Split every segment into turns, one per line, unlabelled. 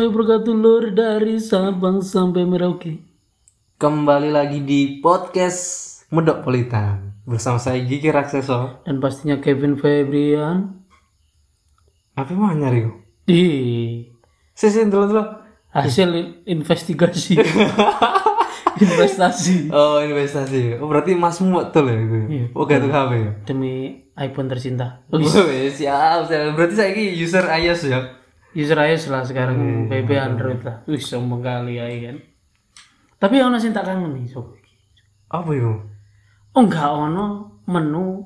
dulur dari Sabang sampai Merauke.
Kembali lagi di podcast Medok Politan bersama saya Gigi Rakseso.
Dan pastinya Kevin Febrian.
Apa mah nyari kok?
Di
Sisi dulu dulu.
hasil investigasi. Investasi.
Oh investasi. Oh berarti Mas Muat tuh ya itu.
Iya.
Oh gak tuh HP ya.
Demi iPhone tercinta. Wis,
Oh, iya, siap, siap. Berarti saya ini user iOS ya.
User iOS lah sekarang. BB Android lah. Wih, sombong kali ya kan. Tapi ono sing tak kangen nih, sob.
Apa itu?
Oh enggak ono menu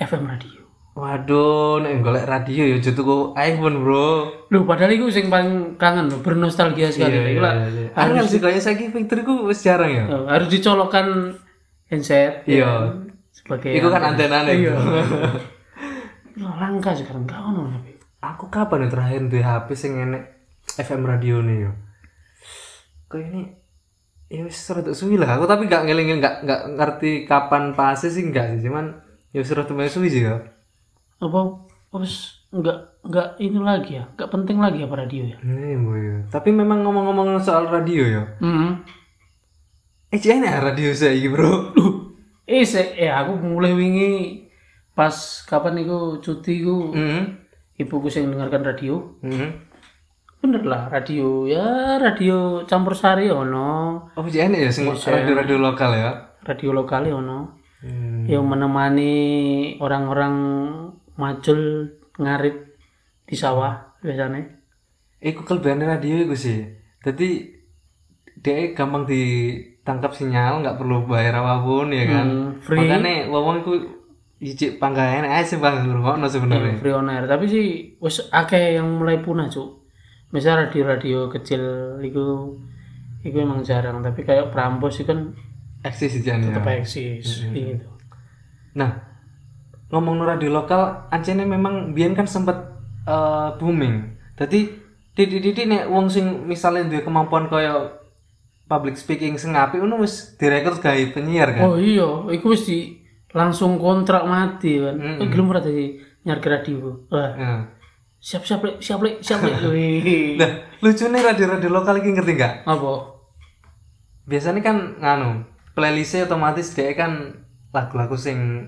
FM radio.
Waduh, nek golek radio ya jatuh iPhone bro.
Loh, padahal itu sing paling kangen loh, bernostalgia
Iya,
sekali. Iku lah
Aneh sih kayaknya saya ini fiturku wis jarang ya.
Eh, harus dicolokkan handset ya
Iya.
kan? sebagai
Iku kan antena nih.
Lah, langka sekarang gak ono tapi
aku kapan ya terakhir di HP sing enek FM radio nih yo kayak ini ya wis rada suwi lah aku tapi gak ngeling gak, gak ngerti kapan pasnya sih gak sih cuman ya wis rada lumayan suwi sih ya
apa terus nggak nggak ini lagi ya nggak penting lagi ya apa radio ya
ini bu ya tapi memang ngomong-ngomong soal radio ya
hmm.
eh sih enak radio saya bro
eh se- eh, aku mulai wingi pas kapan iku cuti iku
hmm
ibuku sing dengarkan radio
hmm
bener lah radio ya radio campur sari ono
oh sih enak ya sing radio-radio lokal ya
radio lokal ya ono
hmm.
yang menemani orang-orang macul ngarit di sawah biasanya
Eh, Iku kelebihannya radio iku sih. Jadi dia gampang ditangkap sinyal, nggak perlu bayar apapun ya kan.
Hmm, free.
Makanya wong iku ijik pangkalan ae sih bang ngrungokno sebenarnya.
free on air tapi sih wis akeh yang mulai punah cuk misal radio-radio kecil itu itu emang jarang tapi kayak Prambos itu kan
Eksis sih jan,
tetap
ya.
eksis gitu
Nah, ngomong no radio lokal, ancene memang biyen kan sempet eh, booming. Jadi titik-titik nek wong sing misalnya duwe kemampuan kaya public speaking sing apik ngono wis direkrut gawe penyiar kan.
oh iya itu wis di langsung kontrak mati kan
Mm-mm.
eh gelem ora tadi nyar ke radio wah
Nah.
siap siap Lek, siap Lek, siap Lek. Wih.
Nah, lucunya radio-radio lokal iki ngerti nggak?
apa
biasanya kan nganu playlistnya otomatis dia kan lagu-lagu sing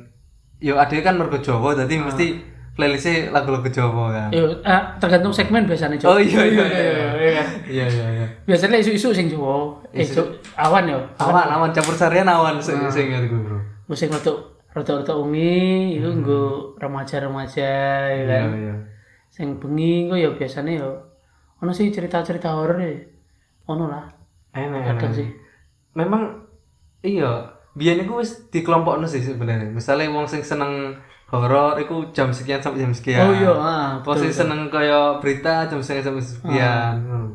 yo ada kan mergo Jawa jadi
Ah.
mesti playlistnya lagu-lagu Jawa kan
Yo, ah, tergantung segmen biasanya Cuk.
oh iya iya iya
iya kan?
iya iya iya
biasanya isu-isu sing Jawa eh Cuk, awan ya
awan awan campur sarian awan sing
Ah.
sing ngerti gue bro
musik rotok rotok rotok ungi itu nggo remaja-remaja ya
iya
kan
iya
sing bengi ku ya biasanya ya ono sih cerita-cerita horor ya ono lah
enak
ada
enak
sih
memang iya biyen iku wis dikelompokno sih sebenarnya misalnya wong sing seneng horor iku jam sekian sampai jam sekian
oh iya ah,
Wong sing
betul. Ah.
seneng kaya berita jam sekian sampai sekian Ngono.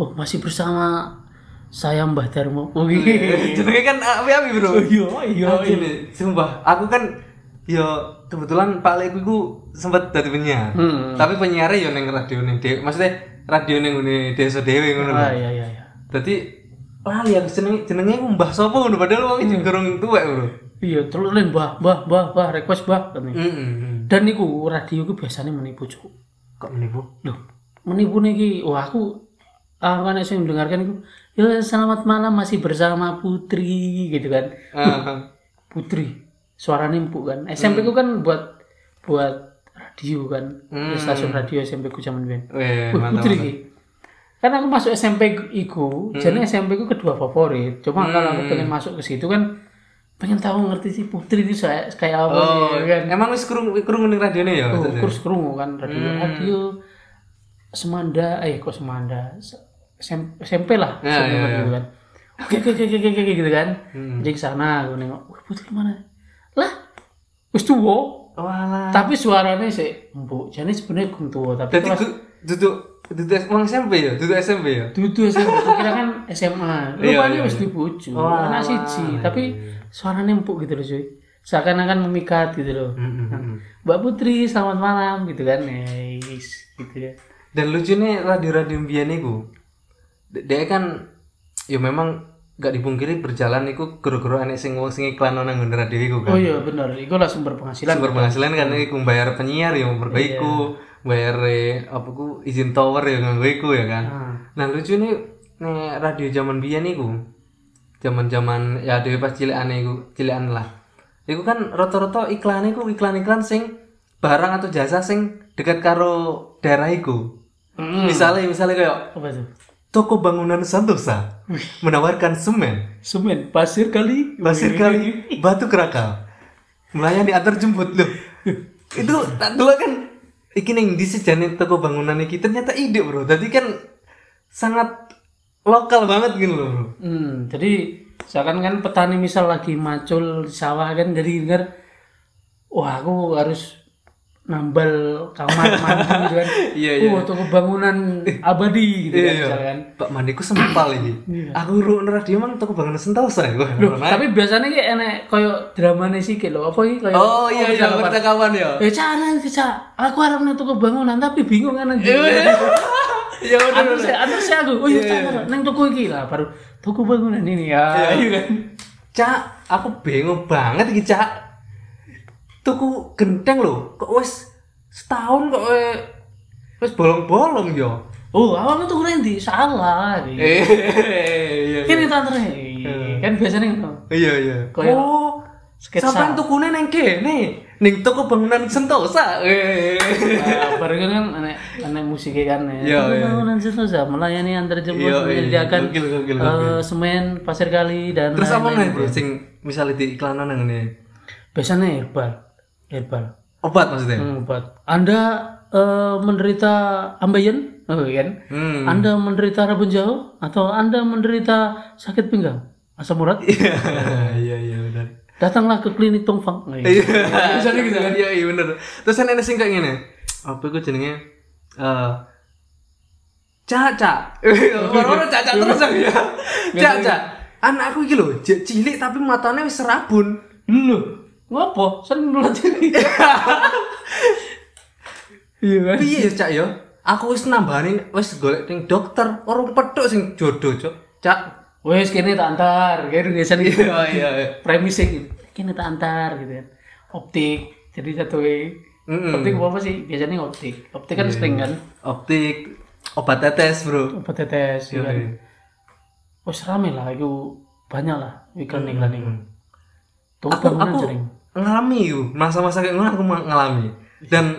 oh masih bersama saya Mbah Darmo oh
jenenge kan api-api bro
iya iya
Gini, sumpah aku kan yo kebetulan Pak Leku ku sempat dari penyiar
Hmm.
tapi penyiarnya yo neng radio neng dewe maksudnya radio neng ngene desa dewe ngono lho
ah iya iya iya
dadi lali aku jenenge jenenge ku Mbah sapa ngono padahal wong iki
Hmm.
gorong tuwek bro
iya terus lain bah bah bah bah request bah katanya.
heeh
dan niku radio ku biasanya menipu cuk
kok menipu
Loh, menipu niki. Wah, aku ah kan yang mendengarkan itu, ya selamat malam masih bersama Putri gitu kan.
Ah,
Putri, suaranya empuk kan. SMP ku
Hmm.
kan buat buat radio kan. Di Stasiun radio SMP ku zaman dulu. Wih,
weh Hmm. mantap Hmm.
Putri iki. Karena aku masuk SMP iku, jadi SMP ku kedua favorit. Cuma kalau aku pengen masuk ke situ kan pengen tahu ngerti sih Putri itu saya- kayak apa
oh
ya kan.
emang wis krung krung ning radione ya
Oh, kurs kerungu kan radio
Hmm.
radio semanda eh kok semanda Se- SM- SMP lah
Ya,
SMP
ya, Hmm.
radio kan oke oke oke oke oke, oke gitu kan jadi ke sana gue nengok wah putri mana lah wis tuwo
walah
tapi suaranya sih empuk jadi sebenarnya gue tuwo tapi
dadi
kelas
ku- duduk duduk wong SMP ya duduk SMP ya
duduk SMP gua kira kan SMA
Iya,
rupanya
iya,
wis
iya.
dibujuk
Wah,
anak siji
iya,
tapi suaranya empuk gitu loh cuy seakan-akan memikat gitu
Hmm.
loh Mbak Putri, selamat malam gitu kan. Eh, is, gitu ya.
dan lucunya radio-radio mbiyen iku de- dia kan ya memang gak dipungkiri berjalan iku guru-guru anak sing wong sing iklan nang nggon radio iku kan
Oh iya benar, itu lah sumber penghasilan.
sumber penghasilan kan iku bayar penyiar ya mergo iku bayar eh, apa ku izin tower ya nganggo iku ya kan
Nah,
Nah lucu nih, nih radio zaman biyen niku. Zaman-zaman ya dhewe pas cilikane iku, cilikan lah. Iku kan rata-rata iklan iku iklan-iklan sing barang atau jasa sing dekat karo daerah iku. Misalnya misalnya kayak
Apa itu?
toko bangunan Santosa menawarkan semen,
Semen, pasir kali.
pasir kali, batu kerakal. Melayani antar jemput loh. Itu tak dulu kan iki ning di sejane toko bangunan iki ternyata ide, Bro. Tadi kan sangat lokal banget gitu loh, Bro.
Hmm, jadi seakan kan petani misal lagi macul di sawah kan jadi denger wah aku harus nambal kamar mandi gitu kan.
Iya,
iya. Oh, toko bangunan abadi gitu kan misalkan.
Pak Mandiku sempal ini. Aku ruang radio emang toko bangunan Sentosa ya. Wah,
Loh,
orang
tapi biasanya kayak enek koyo dramane sikit loh. Apa iki
lain.
koyo
Oh iya iya, percakapan ya.
Eh, cara bisa aku harap nang toko bangunan tapi bingung kan
Iya,
anjing.
Ya udah.
Anu saya, anu saya aku. Oh iya, cara nang toko iki lah baru toko bangunan ini ya. Iya kan.
Cak, aku bingung banget iki, Cak. Tuku genteng lho, kok wis setahun kok eh, wis bolong-bolong ya? yo.
Oh, awalnya tuh keren di salah. Gitu.
Eh, iya.
kan itu antaranya kan biasanya gitu
Iya, iya.
Kayak
oh,
sketsa.
sampean tukune nang kene, ning toko bangunan Sentosa. Eh.
Nah, baru kan kan aneh aneh musiknya kan
Iya,
ya.
iya.
Bangunan Sentosa melayani antar jemput
Iya, iya.
menyediakan
Gokil, gokil,
eh, semen, pasir kali dan
Terus apa nih,
lain-lain.
Bro? Sing misalnya di iklanan nang ngene.
Biasanya herbal, herbal.
Obat maksudnya.
Hmm, obat. Anda eh, menderita ambeien, oh, kan?
Hmm.
Anda menderita rabun jauh atau Anda menderita sakit pinggang, asam urat?
Iya, iya, iya benar.
Datanglah ke klinik Tongfang. Nah, iya.
Misalnya gitu kan. Iya, iya bener. Terus kan enek sing kayak ngene. Apa iku jenenge? Eh Caca. Orang-orang caca terus ya. Caca. Anakku iki lho, jek cilik tapi matanya wis serabun.
Lu, ngopo? Senulat ini. Iya kan?
Piye ya, Cak ya? Aku wis nambani wis golek ning dokter, orang petuk sing jodoh, Cok. Cak.
Wes kene tak antar, kene biasa nih.
Iya, iya, iya.
gitu. Premisnya gitu. Kene tak antar gitu kan. Optik. Jadi satu E.
Mm-mm.
Optik apa sih? Biasanya optik. Optik kan sering kan.
Optik obat tetes, Bro.
Obat tetes gitu kan. Wes rame lah itu banyak lah iklan-iklan itu.
Iya.
Tuh
aku
bangunan
aku
sering.
ngalami itu masa-masa kayak ngono aku ma- ngalami dan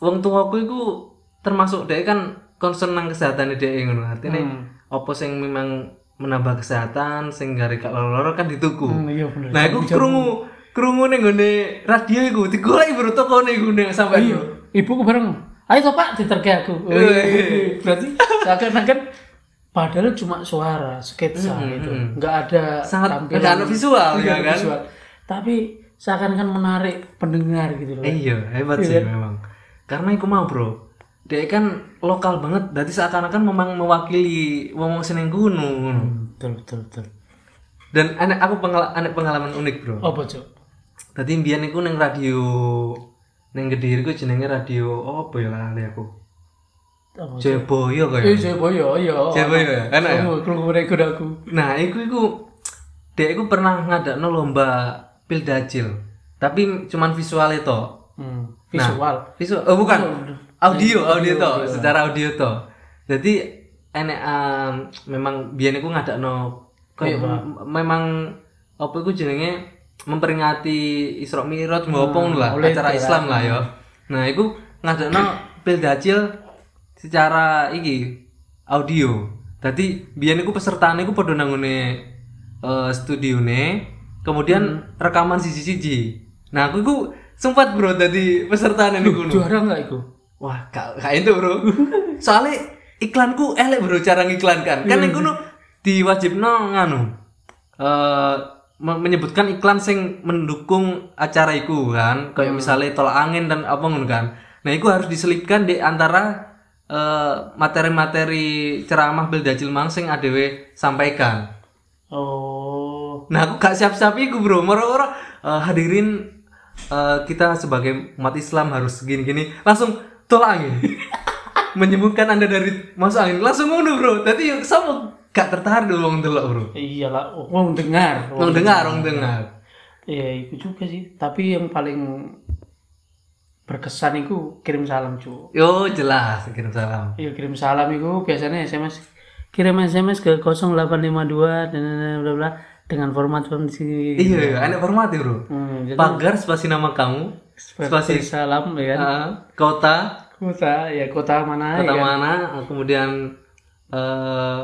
wong tua aku itu termasuk dia kan concern nang kesehatan dia ngono artinya
Hmm.
apa sing memang menambah kesehatan sing gak gak loro kan dituku
Hmm, iya bener.
nah aku kerungu kerungu nih gue radio itu digolek baru toko nih gue sampai
Iya. Ibu ku bareng. Ayo toh Pak diterke aku. Oh,
Eh.
Wih. Berarti seakan-akan padahal cuma suara sketsa gitu. Enggak ada
Hmm, sangat ada anu visual
Iya,
ya kan
visual. Tapi seakan-akan menarik pendengar gitu loh.
Eh, iya hebat sih memang karena aku mau bro dia kan lokal banget jadi seakan-akan memang mewakili wong wong seneng gunung
Betul betul betul.
dan anak aku pengala- anak pengalaman unik bro
Apa cok?
tadi mbiyen aku neng radio neng gediri ku jenenge radio apa ya lah aku
Apa?
Jayabaya
Eh,
kayak
saya boyo, iya.
Jayabaya ya enak ya
Kamu kalau mereka udah aku.
nah iku iku dia iku pernah ngadakno lomba pildacil tapi cuman visual itu
Hmm, visual.
visual oh bukan audio audio to secara audio to jadi enek um, memang biyen iku ngadakno kayak mem- memang apa iku jenenge memperingati Isra Mi'raj ngopong lah
oleh
acara Islam lah ya nah iku ngadakno pildacil secara iki audio tadi biyen iku pesertane iku padha nang ngone eh, studione kemudian rekaman siji-siji nah aku iku sempat bro tadi pesertane niku no.
Juara enggak itu?
Wah, kak, kak itu bro. Soalnya iklanku elek bro cara ngiklankan. Kan yang kuno diwajibno nganu. eh, me- menyebutkan iklan sing mendukung acara iku kan. Kayak misalnya tolak angin dan apa ngono kan. Nah, iku harus diselipkan di antara eh, materi-materi ceramah Bill Dajil Mang sing adewe sampaikan.
Oh.
Nah aku gak siap-siap iku bro Moro-moro eh, hadirin eh, kita sebagai umat Islam harus gini-gini Langsung tolak angin Menyembuhkan anda dari masuk angin Langsung ngono bro Tadi yuk sama gak tertarik dulu wong delok bro
Iyalah, wong dengar.
Wong dengar, wong dengar
Iya, itu juga sih. Tapi yang paling berkesan itu kirim salam, cu.
Yo jelas, kirim salam
Iya, kirim salam itu biasanya SMS. kirim SMS ke 0852 dan bla bla dengan format form di sini.
Iya, iya, enak format ya, Bro.
Hmm, jadi
Pagar spasi nama kamu,
seperti salam ya kan.
eh, kota,
Kota ya kota mana
kota
ya.
mana, kemudian eh,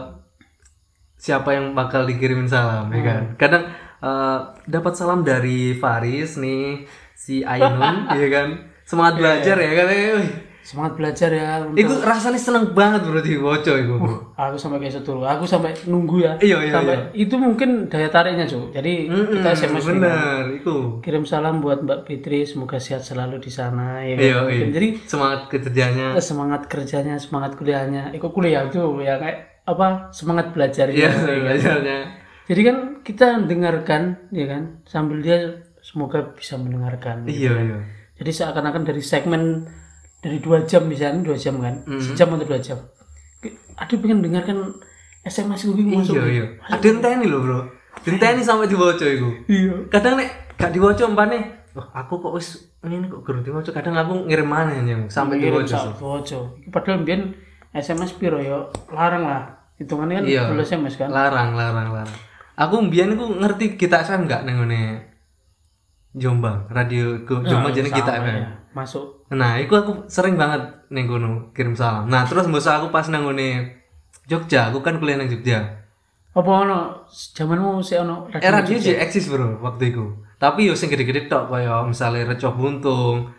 siapa yang bakal dikirimin salam, ya kan? Kadang eh, dapat salam dari Faris nih, si Ainun, ya kan? Semangat belajar ya kan? Eh, wih.
Semangat belajar ya.
Iku rasanya seneng banget bro di Woco iku.
Aku sampai kayak situ. Aku sampai nunggu ya.
Iya, iya,
sampai itu mungkin daya tariknya, Cuk. Jadi
Mm-mm,
kita SMS dulu.
iya. bener, iku.
kirim salam buat Mbak Fitri, semoga sehat selalu di sana ya.
Iya,
kan?
iya.
Jadi
Semangat kerjanya.
Eh, semangat kerjanya, semangat kuliahnya. Ikut kuliah tuh ya kayak apa? Semangat belajarnya.
Iya, belajarnya.
Jadi kan kita dengarkan ya kan sambil dia semoga bisa mendengarkan.
Iya, iya.
Jadi seakan-akan dari segmen dari dua jam misalnya dua jam kan,
Mhm.
sejam atau dua jam. Aduh pengen dengarkan SMS gue masuk.
Iya, iya. Ada enteni lho, Bro. Enteni sampai di Woco iku.
Iya.
Kadang nek gak di Woco umpane, Wah, aku kok wis ini kok guru di Woco, kadang aku ngirim mana yang sampai di
Kirim
Woco.
sak bojo. Padahal mbiyen SMS piro ya larang lah. Hitungannya kan
Iya.
full SMS kan.
Larang, larang, larang. Aku mbiyen iku ngerti kita FM gak nang ngene Jombang, radio ke Jombang jenenge kita
Sama
FM.
ya, Masuk.
Nah, itu aku sering banget neng kono kirim salam. Nah, terus mbosa aku pas nang ngone Jogja, aku kan kuliah nang Jogja.
Apa ono zamanmu sik ono radio?
Era dia sih eksis bro waktu itu. Tapi yo sing gede-gede tok kaya misalnya Recoh Buntung,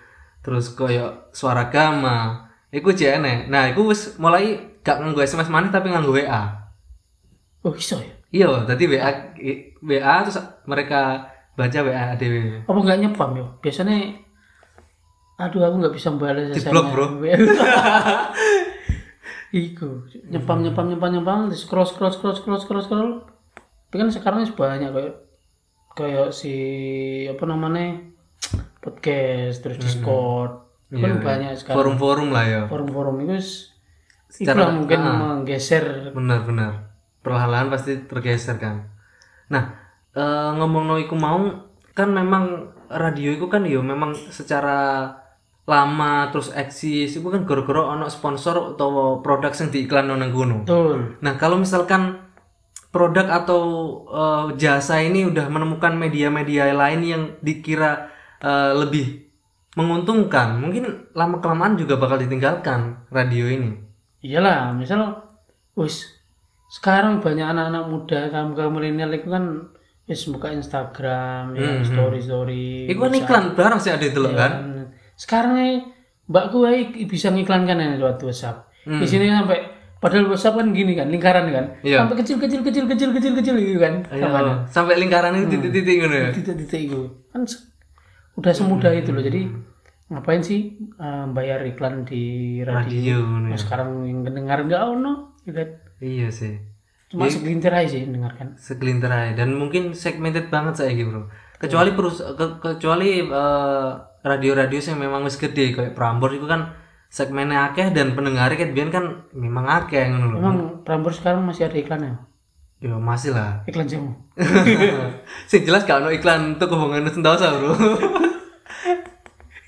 terus kaya Suara Gama. Iku jek enek. Nah, iku wis mulai gak nganggo SMS maneh tapi nganggo WA.
Oh, iso ya.
Iya, tadi WA i- WA terus mereka baca WA dhewe.
Apa enggak nyepam ya? Biasanya aduh aku nggak bisa balas
Di blok, bro.
Iku nyepam nyepam nyepam nyepam terus scroll scroll scroll scroll scroll scroll. Tapi kan sekarang wis banyak kayak kayak si apa namanya podcast
Hmm.
terus Discord. Kan banyak sekali
Forum-forum lah ya.
forum-forum itu wis-
Secara-
itulah mungkin
ah.
menggeser
benar-benar perlahan-lahan pasti tergeser kan nah eh, ngomong no iku mau kan memang radio iku kan yo memang secara lama terus eksis itu kan gara-gara ono sponsor atau produk yang diiklan nang gunung
betul
nah kalau misalkan produk atau eh, jasa ini udah menemukan media-media lain yang dikira eh, lebih menguntungkan mungkin lama kelamaan juga bakal ditinggalkan radio ini
iyalah misal wis sekarang banyak anak-anak muda kamu kamu milenial itu kan wis buka Instagram ya, story story
Hmm, Iku kan iklan barang sih ada itu
Iya.
loh kan.
sekarang nih mbakku ae bisa ngiklankan ini lewat WhatsApp
Hmm.
di sini sampai padahal WhatsApp kan gini kan lingkaran kan
Iya.
sampai kecil kecil kecil kecil kecil kecil gitu kan Sampai-
Ayo, sampai lingkaran itu titik-titik ngono ya.
titik-titik itu kan se- udah semudah itu loh jadi ngapain sih eh, bayar iklan di radio
Radio ngono
Nah,
ya.
sekarang yang dengar nggak ono ya kan?
Iya sih.
cuma segelintir aja sih yang dengarkan
Segelintir aja dan mungkin segmented banget saya Bro. Kecuali perus ke- kecuali eh, radio-radio yang memang wis gede kayak Prambors itu kan segmennya akeh dan pendengarnya kan biyen kan memang akeh ngono lho.
emang Prambors sekarang masih ada iklannya
Ya masih lah.
iklan jamu
sing jelas gak ono iklan untuk hubungan sentosa, Bro.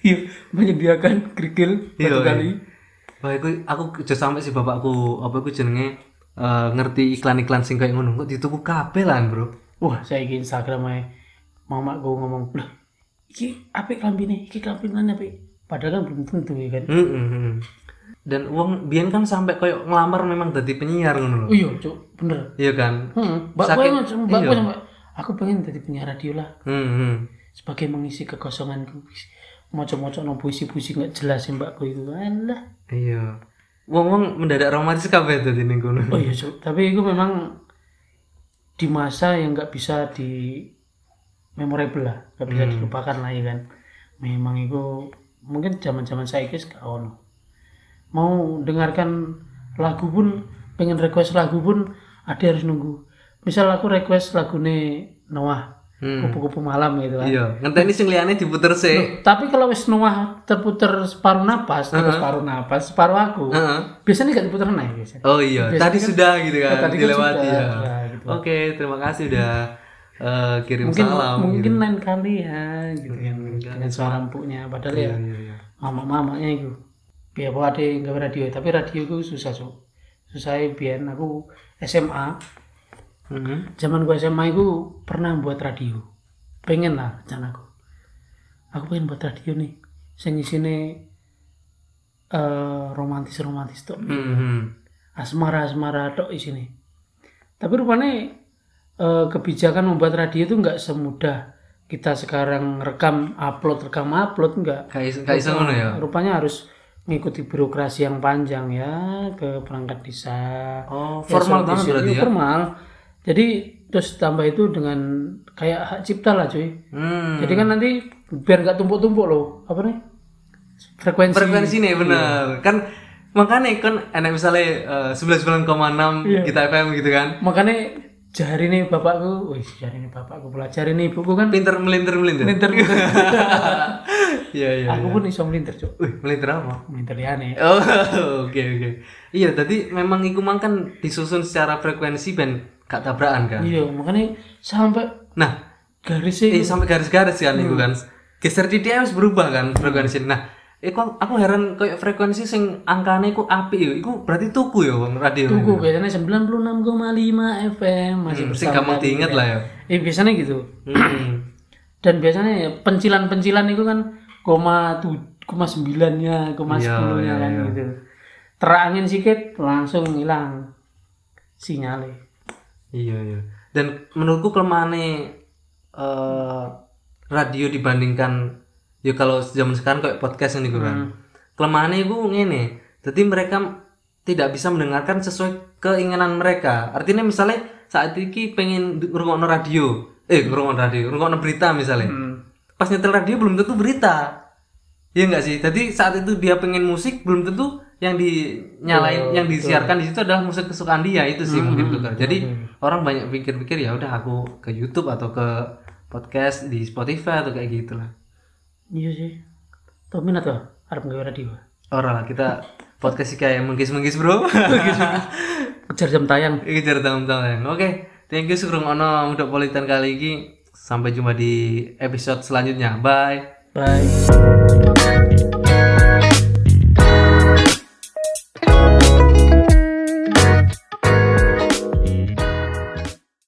iya menyediakan kerikil
Iya,
satu
iya.
kali
Wah, aku aku kerja sampai si bapakku apa iku jenenge eh, ngerti iklan-iklan sing kayak ngono kok dituku kabeh lah, Bro.
wah saya ingin Instagram aja mama gue ngomong lah iki apa kelambine iki kelambine apa padahal kan belum tentu ya kan
Mm, mm, mm. Dan uang Bian kan sampai kayak ngelamar memang jadi penyiar
oh
ngono lho.
iya cuk bener
Iya kan?
hmm, mbak
Hmm. Saking-
gue mbak gue
iya.
sampai aku pengen jadi penyiar radio lah
Hmm, hmm.
sebagai mengisi kekosonganku moco-moco no puisi-puisi nggak jelas ya mbakku itu alah
Iya. Wong-wong mendadak romantis kabeh dadi ning kono.
oh iya Cuk. tapi itu memang di masa yang nggak bisa di memorable lah nggak bisa
Hmm.
dilupakan lah ya kan memang itu mungkin zaman zaman saya itu ono mau dengarkan lagu pun pengen request lagu pun ada harus nunggu misal aku request lagu Noah
Hmm.
kupu-kupu malam gitu kan
Iya, ngenteni sing liyane diputer sih.
Tapi kalau wis nuah terputer separuh napas, terus separuh napas, separuh aku.
Heeh.
Biasanya gak diputer naik biasanya.
Oh iya,
Biasanya
tadi
kan-
sudah gitu kan,
tadi kan
dilewati
sudah,
ya.
ya, gitu.
Oke, terima kasih udah eh, kirim
Mungkin
salam.
mungkin
gitu.
lain kali ya gitu kan dengan suara empuknya padahal
Iya,
ya
iya, iya.
mamak-mamaknya itu. ya, Biar apa ada yang gak radio, tapi radio itu susah, Cuk. Susah biar aku SMA
Heeh.
zaman gue SMA itu pernah buat radio pengen lah rencana aku aku pengen buat radio nih sing isine eh, romantis romantis tuh
Heeh.
asmara asmara tok isine tapi rupanya eh, kebijakan membuat radio itu nggak semudah kita sekarang rekam upload rekam upload nggak
Kayak
Iya,
kayak iso ngono ya.
rupanya harus ngikuti birokrasi yang panjang ya ke perangkat desa
Oh,
Ya, soal
formal banget
desain,
berarti
iya,
ya.
formal jadi terus tambah itu dengan kayak hak cipta lah cuy
Hmm.
jadi kan nanti biar nggak tumpuk-tumpuk loh apa nih frekuensi
frekuensi nih
Iya.
bener. Kan makanya kan enak misalnya sebelas sembilan
Iya.
kita FM gitu kan.
makanya jari nih bapakku wih jari nih bapakku pula jari nih ibuku kan
Pinter melintir melintir.
pinter
Iya iya.
aku pun iso melintir cuy
Wih melintir apa?
melintir liane
Oh oke oke. Iya tadi memang iku mang kan disusun secara frekuensi ben gak tabrakan kan.
iya makanya sampai e
Nah eh,
garisnya
sampai garis-garis kan
Iya.
itu kan geser titik harus berubah kan frekuensi nah Iku aku heran kayak frekuensi sing angkane iku api yo. Iku berarti tuku yo wong radio.
tuku biasanya 96,5 FM masih
Hmm, Sing
bersama
gampang diinget lah ya.
eh biasanya gitu
Hmm.
dan biasanya ya, pencilan-pencilan itu kan koma tu, koma sembilannya koma
Iya,
sepuluhnya
iya,
kan
iya.
gitu terangin sedikit langsung hilang sinyalnya
Iya iya. Dan menurutku kelemahannya eh radio dibandingkan ya kalau zaman sekarang kayak podcast ini kan. Kelemahannya itu ngene. Jadi mereka tidak bisa mendengarkan sesuai keinginan mereka. Artinya misalnya saat ini pengen ngrungokno radio, eh ngrungokno radio, ngrungokno berita misalnya. Pas nyetel radio belum tentu berita. Iya enggak sih? Jadi saat itu dia pengen musik belum tentu yang dinyalain yang disiarkan di situ adalah musik kesukaan dia itu sih mungkin tuh Kak. Jadi orang banyak pikir-pikir ya udah aku ke YouTube atau ke podcast di Spotify atau kayak gitu lah.
iya sih tau minat loh harap nggak radio
Orang Oh, lah kita podcast sih kayak menggis-menggis bro.
kejar jam tayang
Iki cara tahun-tahun. Oke, thank you sudah ono untuk politan kali ini. Sampai jumpa di episode selanjutnya. Bye.
bye